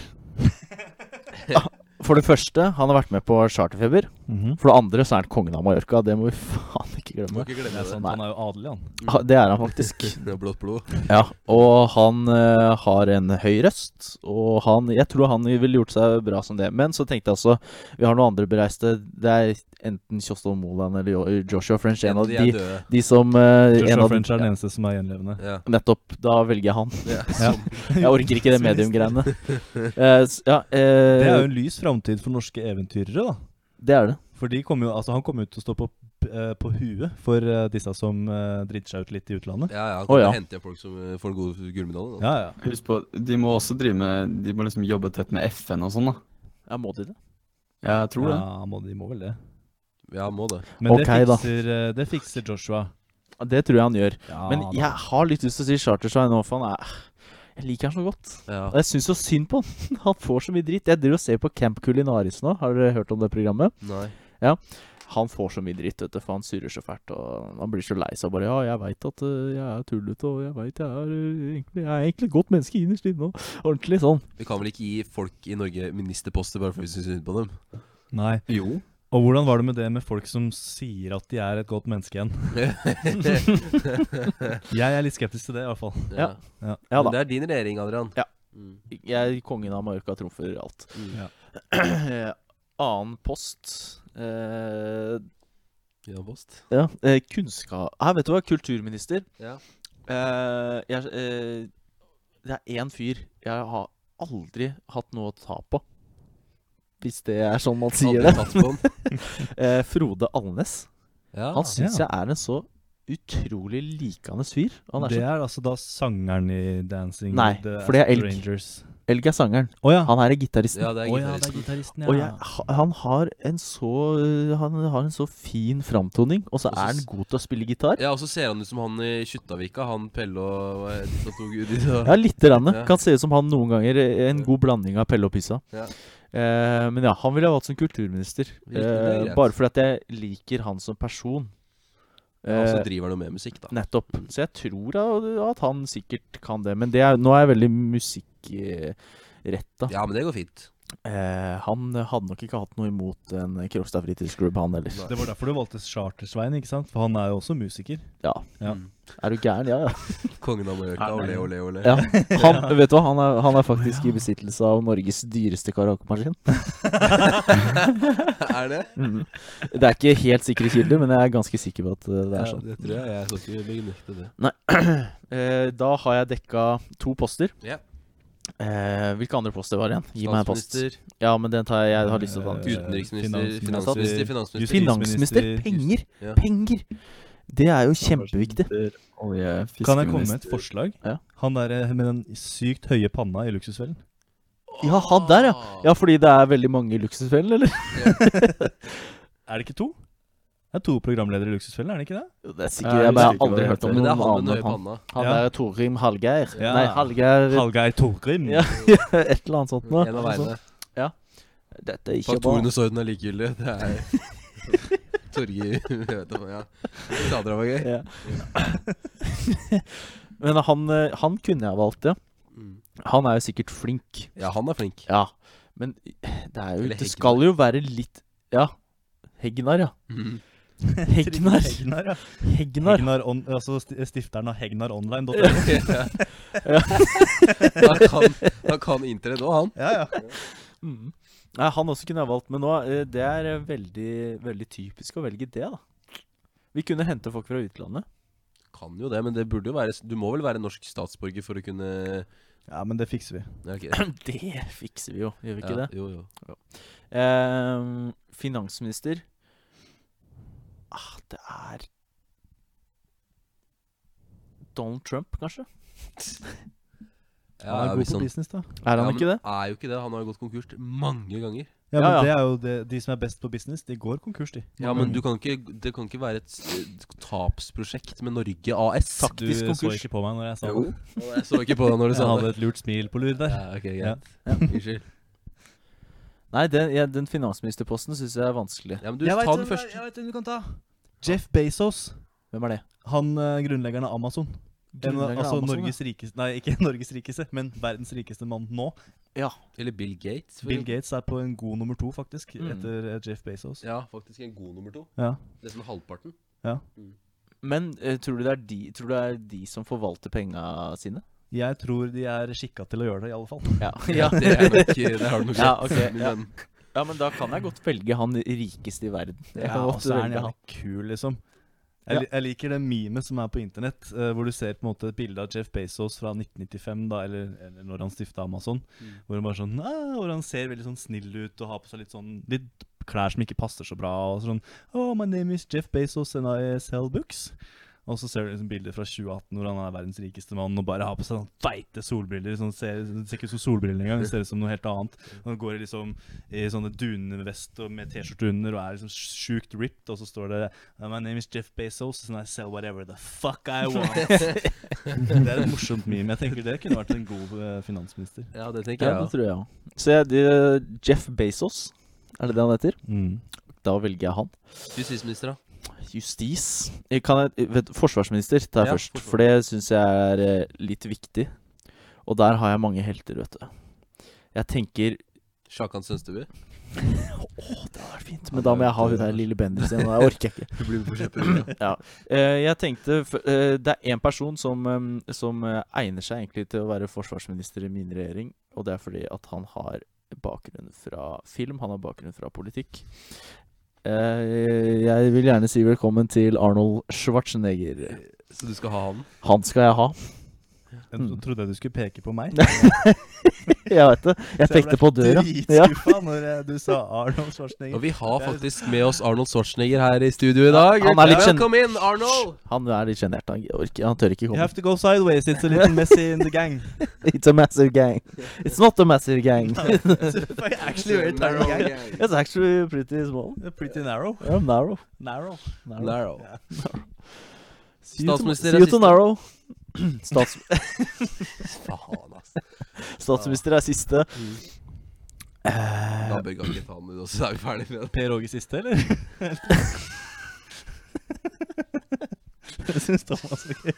Ah, For det første, han har vært med på charterfeber. Mhm. For det andre så er han kongen av Mallorca. Det må vi (laughs) faen ikke Må glemme. ikke glemme det. Han er sånn- jo adelig, han. Ha- Det er han (laughs) faktisk. Det er blått blod. Ja, og han eh, har en høy røst, og han, jeg tror han ville gjort seg bra som det. Men så tenkte jeg altså, vi har noen andre bereiste. Det er enten Kjostov Moland eller Jo- Joshua French. En av de er de, døde. de som eh, en Joshua av, French er den eneste som er gjenlevende. Ja. Nettopp. Da velger (laughs) jeg han. Ja. Ja. Som, Jeg orker ikke det medium-greiene. (laughs) Eh, s- ja, eh, (laughs) Det er jo en lys framtid for norske eventyrere, da. det er det. For de kommer jo, altså Han kommer jo til å stå på, eh, på huet for eh, disse som eh, driter seg ut litt i utlandet. ja, ja. Å, ja. Da henter jeg folk som eh, får en god gullmedalje. da. Ja, ja. Husk på, de må også drive med De må liksom jobbe tett med FN og sånn, da. Ja, må de det? Jeg tror det. Ja, må, de må vel det. Ja, må det. Men Ok, det, da. fikser, eh, det fikser Joshua. Ja, Det tror jeg han gjør. Ja, Men jeg har litt lyst til å si Chartersvein nå, for han er Jeg liker han så godt. Ja. Og jeg syns så synd på (laughs) han. Han får så mye dritt. Jeg driver og ser på Camp Culinaris nå. Har dere hørt om det programmet? Nei. Han får så mye dritt, vet du, for han surrer så fælt. Og han blir så lei seg. og Bare ja, jeg veit at øh, jeg er tullete, og jeg veit jeg er øh, egentlig, jeg er egentlig et godt menneske innerst inne. og Ordentlig sånn. Vi kan vel ikke gi folk i Norge ministerposter bare fordi vi syns synd på dem? Nei. (laughs) Jo. Og hvordan var det med det med folk som sier at de er et godt menneske igjen? Jeg er litt skeptisk til det, i hvert fall. Ja. Ja. Ja Men da. det er din regjering, Adrian. Ja. Mm. Jeg, kongen av Mallorca trumfer alt. Mm. (clears throat) Eh, Annen post eh, Jan Post. Ja, eh, kunnskap Her, vet du hva? Kulturminister. Ja. Eh, jeg, eh, det er én fyr jeg har aldri hatt noe å ta på. Hvis det er sånn man sier Aldri det. tatt på (laughs) den. Eh, Frode Alnes. Ah, Ja. Han syns ja. jeg er en så utrolig likende fyr. Han er det så er altså da sangeren i Dancing Nei, with the for det er Astro Elg. Rangers. Elg er sangeren. Å ja. Han er gitaristen. ja, det er Å Ah. ja, det er gitaristen. gitaristen, ja. Og jeg, ha- han har en så eh, Han har en så fin framtoning, og så Og så er han s- god til å spille gitar. Ja, og så ser han ut som han i Kjuttaviga, han Pelle og hva er det, de som tok ut i det? Ja, lite grann. Ja. Kan se ut som han noen ganger. eh, En god blanding av Pelle og Pyssa. Ja. Eh, men ja, han ville jeg valgt som kulturminister. Virkelig, det er Eh, greit. bare fordi at jeg liker han som person. Ja, Og så Eh, driver han jo med musikk, da. Nettopp. Så jeg tror da, at han sikkert kan det. Men det er, nå er jeg veldig musikkretta. Ja, men det går fint. Eh, han hadde nok ikke hatt noe imot en Krokstad fritidsklubb, han heller. Nei. Det var derfor du valgte Charter-Svein, ikke sant? For han er jo også musiker. Ja. Ja. Mm. Er du gæren? Ja, ja. Kongen av Mallorca, Nei, nei. ole, ole, ole. Ja. Han, vet du hva, han er, han er faktisk i besittelse av Norges dyreste karaokemaskin. (laughs) er det? Det er ikke helt sikre kilder, men jeg er ganske sikker på at eh, det er Ja, sånn. det tror jeg. Jeg skal ikke benekte det. Eh, da har jeg dekka to poster. Ja. Eh, hvilke andre poster var det igjen? Gi meg en post. Statsminister, Ja, men den tar jeg. Jeg har lyst til å ta Eh, den. utenriksminister, finans- finansminister, finansminister. justis- Finansminister. justisminister. Penger! Ja. Penger! Det er jo kjempeviktig. Olje, Kan jeg komme med et fiskeminister. forslag? Ja. Han der eh, med den sykt høye panna i Luksusfellen. Ja, han der, ja. Ja, fordi det er veldig mange luksusfellen, eller? Er det ikke to? Det er to programledere i Luksusfellen, er det ikke det? (laughs) Jo, Det er Jeg sikkert, er jeg bare har usikker på aldri det hørt om Men det noen er han med den annen enn høye han. panna. Han Ja. er Torim Hallgeir. Ja. Nei, Hallgeir Hallgeir Torgrim. Ja. (laughs) Et eller annet sånt noe. En av veiene. Dette er ikke bra. Faktorene orden er likegyldige. Det er (laughs) Torgeir jeg vet om, ja. Sadra var gøy. Ja. Men han, eh, han kunne jeg valgt, ja. Mm. Han er jo sikkert flink. Ja, han er flink. Ja. Men det er jo Eller Det skal jo være litt Ja. Hegnar, (laughs) ja. Mm. Hegnar. Hegnar, ja. Hegnar. Hegnar on, altså sti- stifteren av hegnaronline.no. han, kan, han kan internett òg, han. Ja, ja. Mm. Nei, han også kunne jeg valgt, men nå eh, Det er eh, veldig, veldig typisk å velge det, da. Vi kunne hente folk fra (clears throat) utlandet. Kan jo det, men det burde jo være Du må vel være norsk statsborger for å kunne ja, men det fikser vi. Ja, ok. Det fikser vi jo, gjør vi ikke ja, det? Jo, jo. Eh, finansminister ah, Det er Donald Trump, kanskje? Ja, han er god hvis på han- business, da. Er han Ja, men ikke det? Er jo ikke det. Han har jo gått konkurs mange ganger. Ja, Ja, men ja. det er jo det, De som er best på business, de går konkurs, de. Ja, men du kan ikke Det kan ikke være et s- tapsprosjekt med Norge AS. Takk. Du faktisk så konkurs. ikke på meg når jeg sa Jo. det. Jeg så ikke på deg når du Jeg sa hadde det. et lurt smil på lur der. Ja, ok, Ja. greit. Unnskyld. Nei, den, ja, den finansministerposten syns jeg er vanskelig. Ja, men du, ta den først. jeg vet hvem du kan ta. Jeff Bezos. Hvem er det? Han eh, grunnleggeren av Amazon. En, Grunnlegger altså Amazon, Norges rikeste Nei, ikke (laughs) Norges rikeste, men verdens rikeste mann nå. Eller Bill Gates. for Bill eksempel. Gates er på en god nummer to, faktisk, Mm. etter eh, Jeff Bezos. Ja, faktisk en god nummer to. Ja. Nesten (laughs) halvparten. ja. Men eh, tror, du det er de, tror du det er de som forvalter penga (laughs) sine? Jeg tror de er skikka til å gjøre det, i alle fall. Ja. Ja, (laughs) ja. det, er nok, eh, det har du nok Ja, rett, ok, ja. (laughs) men- men da kan jeg godt velge han rikeste i verden. Jeg Ja, kan og godt så er han velge jævlig kul, liksom. Jeg, li- jeg liker det memet som er på internett, eh, hvor du ser på en måte et bilde av Jeff Bezos fra 1995, da, eller, eller når han stifta Amazon. Mm. Hvor han bare sånn, «Ah», hvor han ser veldig sånn snill ut og har på seg litt sånn litt klær som ikke passer så bra. og sånn, Oh, my name is Jeff Bezos and I sell books. Og så ser du liksom bilder fra 2018 hvor han er verdens rikeste mann og bare har på seg sånn feite solbriller. Sånn, ser, det ser ikke ut som solbriller engang, det ser ut som noe helt annet. Han går i liksom i sånne dunvest og med T-skjorte under og er liksom sjukt ripped, og så står det "Uh, My name is Jeff Bezos and I sell whatever the fuck I want. (laughs) det er et morsomt meme. Jeg tenker det kunne vært en god eh, finansminister. Ja, det tenker Ja, jeg det også. tror jeg òg. Så jeg, de, Jeff Bezos, er det det han heter? Da velger jeg han. Justisminister, da? Justis Eh, kan jeg, vet, Forsvarsminister tar jeg Ja, først, forsvar. for det syns jeg er eh, litt viktig. Og der har jeg mange helter, vet du. Jeg tenker Sjakan Sønsteby? Det hadde vært fint, men da må jeg ha hun der lille Bendriss igjen. og Det orker jeg ikke. Du blir med på kjøpet. Eh, jeg tenkte f- eh, Det er én person som, eh, som eh, egner seg egentlig til å være forsvarsminister i min regjering, og det er fordi at han har bakgrunn fra film, han har bakgrunn fra politikk. Eh, jeg vil gjerne si velkommen til Arnold Schwarzenegger. Så du skal ha han? Han skal jeg ha. (laughs) Jeg tro- trodde jeg du skulle peke på meg. Jeg veit det. Jeg pekte på døra. Ja. Ja. når eh, du sa Arnold Schwarzenegger. Og vi har faktisk med oss Arnold Schwarzenegger her i studio i dag. Han er litt kjent- Velkommen inn, Arnold! Han er litt sjenert. Han, orker- han tør ikke You komme. have to go sideways, it's a little messy in the gang. It's a massive gang. It's not a massive gang. (laughs) actually very tiny (laughs) gang. It's actually pretty small. Pretty narrow. Yeah, narrow. Narrow. Narrow. Ja. Statsminister See you to siste. narrow. (laughs) (clears throat) Stats, Faen, ass. statsminister er siste. Eh, Da bør jeg ikke ta han ut også, så er vi ferdig med det. Per Åge siste, eller? (laughs) Jeg syns Thomas (laughs) var gøy.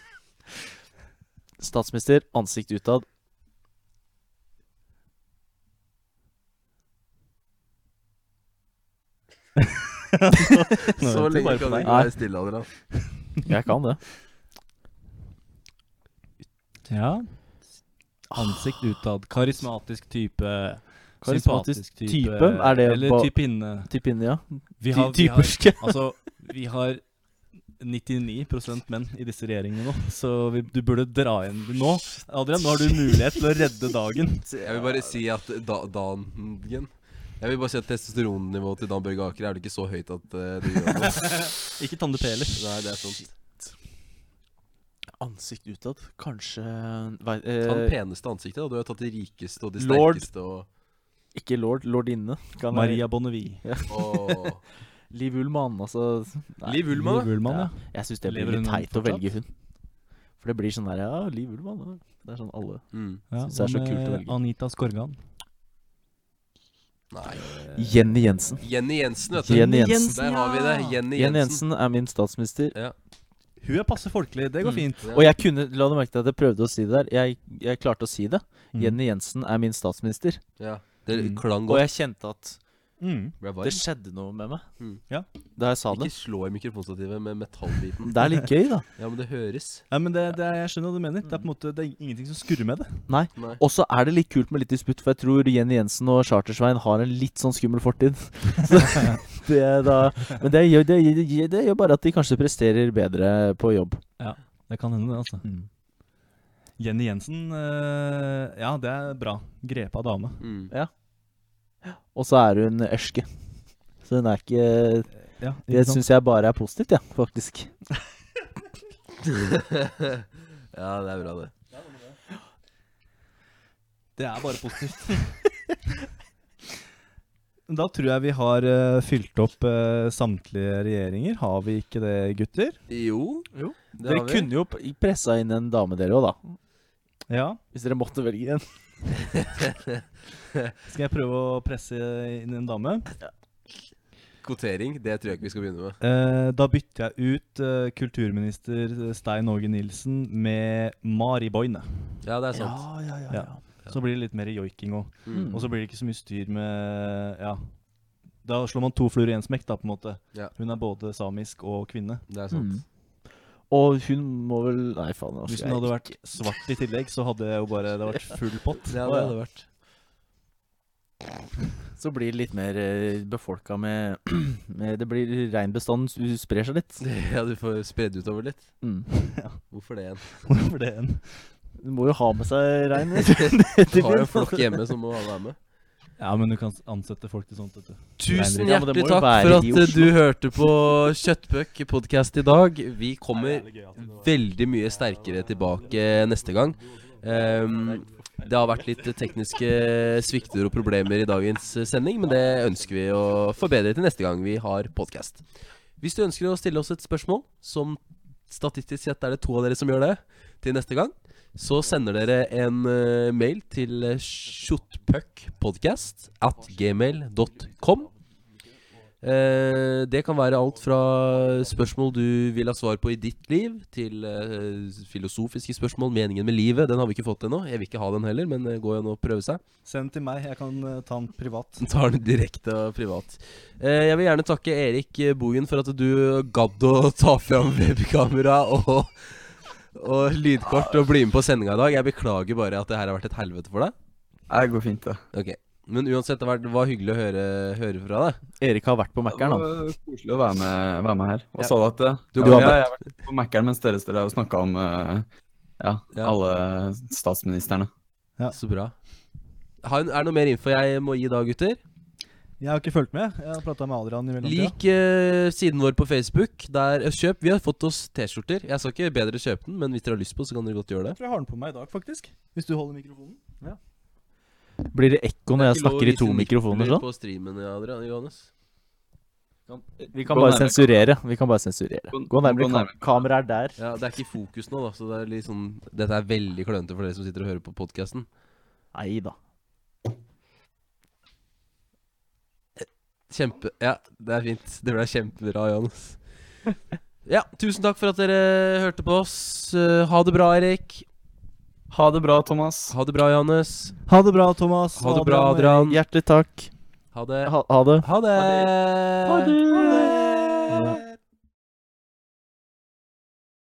Statsminister, ansikt utad. Nå (laughs) Så venter lenge jeg bare kan på du deg. ikke være stille, Adrian. Jeg kan det. Ja. Ansikt utad. Karismatisk type. Karismatisk sympatisk type. type, er det Eller ba- typinne. Type inni, ja. Vi Ty har, vi har, (laughs) typerske. altså, vi har 99 menn i disse regjeringene nå, så vi, du burde dra inn nå. Adrian, nå har du mulighet til å redde dagen. Jeg vil bare si at da, Dangen Jeg vil bare si at testosteronnivået til Dan Børge Aker er vel ikke så høyt at eh, det gjør noe. Ikke Tande P heller. Nei, det er sant. Ansikt utad. Kanskje vei, (laughs) Ta den eh, peneste ansiktet, da. Du har tatt de rikeste og de Lord. sterkeste og Ikke lord. Lordinne. Kan jeg- Maria Bonnevie. Åh. Liv Ullmann, altså. (laughs) Nei. Liv Ullmann, da? Ullmann, ja. Jeg syns det blir Lever litt hun teit å fortsatt? velge hun. For det blir sånn der Ja, Liv Ullmann. Ja. Det er sånn alle Mm. ja. Synes det er så hva kult å med velge. Anita Skorgan. Nei. Jenny Jensen. Jenny Jensen, vet du. Eh. Jenny Jensen. Der har vi det. Jenny Jenny Jensen. Jensen er min statsminister. Hun er passe folkelig. Det Mm. går fint. Ja. Og jeg kunne La du merke til at jeg prøvde å si det der. Jeg, jeg klarte å si det. Jenny Jensen er min statsminister. Ja. Det Mm. klang Og godt. jeg kjente at Mm. Ble det varm. skjedde noe med meg Mm. Ja. da jeg sa det. Ikke slå i mikrofonstativet med metallbiten. Det er litt gøy, (laughs) da. Ja, men det høres. Nei, men det, det er, Jeg skjønner hva du mener. Det er på en måte, det er ingenting som skurrer med det. Nei. Og så er det litt kult med litt disputt, for jeg tror Jenny Jensen og Chartersvein har en litt sånn skummel fortid. (laughs) Så det er da, men det gjør, det, gjør, det gjør bare at de kanskje presterer bedre på jobb. Det kan hende, det, altså. Jenny Jensen, eh, ja, det er bra. Grepa dame. (laughs) Mm. Og så er hun ørske. Så hun er ikke Ja, Det ikke sant? syns jeg bare er positivt, ja, faktisk. ja, det er bra, det. Det er bare positivt. (laughs) da tror jeg vi har eh, fylt opp eh, samtlige regjeringer. Har vi ikke det, gutter? Jo, Jo. det Dere har vi. kunne jo p- pressa inn en dame, dere òg, da. Ja. Hvis dere måtte velge en. Skal jeg prøve å presse inn en dame? Kvotering, det tror jeg ikke vi skal begynne med. Eh, da bytter jeg ut eh, kulturminister Stein Åge Nilsen med Mari Boine. Ja, det er sant. ja, ja. Ja. Så blir det litt mer joiking òg. Mm. Og så blir det ikke så mye styr med Ja. Da slår man to fluer i én smekk, da, på en måte. Ja. Hun er både samisk og kvinne. Det er sant. Mm. Og hun må vel Nei, faen. nå Hvis skal hun jeg hadde vært svart i tillegg, så hadde jeg jo bare Det hadde vært full pott. Ja, det hadde (laughs) (laughs) vært. ikke- Så blir det litt mer eh, befolka med, (clears throat) med Det blir reinbestanden s- sprer seg litt. Ja, du får spredd utover litt. (laughs) Mm. Hvorfor (laughs) det igjen? Hvorfor det en? Du må jo ha med seg (laughs) rein. vet Du du. har jo en flokk hjemme, så må alle være med. Ja, men du kan ansette folk til sånt, vet du. (laughs) Tusen Ja, men det må hjertelig jo takk være for i at eh, Oslo. du hørte på Kjøttbøk podcast i dag. Vi kommer veldig mye sterkere tilbake neste gang. Ehm, det har vært litt tekniske svikter og problemer i dagens sending, men det ønsker vi å forbedre til neste gang vi har podkast. Hvis du ønsker å stille oss et spørsmål, som statistisk sett er det to av dere som gjør det, til neste gang, så sender dere en eh, mail til kjottpuckpodcast at gmail.com. Eh, det kan være alt fra spørsmål du vil ha svar på i ditt liv, til eh, filosofiske spørsmål. Meningen med livet. Den har vi ikke fått ennå. Jeg vil ikke ha den heller, men det går jo an å prøve seg. Send den til meg, jeg kan eh, ta den privat. (laughs) Tar den direkte og privat. Eh, jeg vil gjerne takke Erik eh, Bogen for at du gadd å (laughs) ta fram webkamera og, og lydkort og bli med på sendinga i dag. Jeg beklager bare at det her har vært et helvete for deg. Nei, Det går fint, det. Ok Men uansett, det var, det var hyggelig å høre, høre fra deg. Erik har vært på Mækkern, han. Det var Koselig å være med, være med her. Og så at eh, Du ja, var jeg, med. jeg har vært på Mækkern mens dere dere har snakka om eh, ja, Ja. alle statsministrene. Ja. Så bra. Har, er det noe mer info jeg må gi da, gutter? Jeg har ikke fulgt med. Jeg har prata med Adrian i mellomtida. Lik eh, siden vår på Facebook. Der, eh, kjøp. Vi har fått oss T-skjorter. Jeg sa ikke bedre kjøpe den, men hvis dere har lyst på, så kan dere godt gjøre Jeg det. tror jeg har den på meg i dag, faktisk. Hvis du holder mikrofonen. Blir det ekko når jeg snakker i to mikrofoner sånn? På streamen, ja, Adrian, Johannes. Vi kan Gå bare nærmere sensurere. Vi kan bare sensurere. Gå- Gå nærmere. gå Kam nærmere. kameraet er der. Ja, Det er ikke i fokus nå, da, så det er litt sånn Dette er veldig klønete for dere som sitter og hører på podkasten. Nei da. Kjempe... Ja, det er fint. Det ble kjempebra, Johannes. Ja, tusen takk for at dere hørte på oss. Eh, Ha det bra, Erik. Ha det bra, Thomas. Ha det bra, Johannes. Ha det bra, Thomas. Sånn. Ha det bra, Adrian. Hjertelig takk. Ha det. Ha, ha det. Ha det. Ha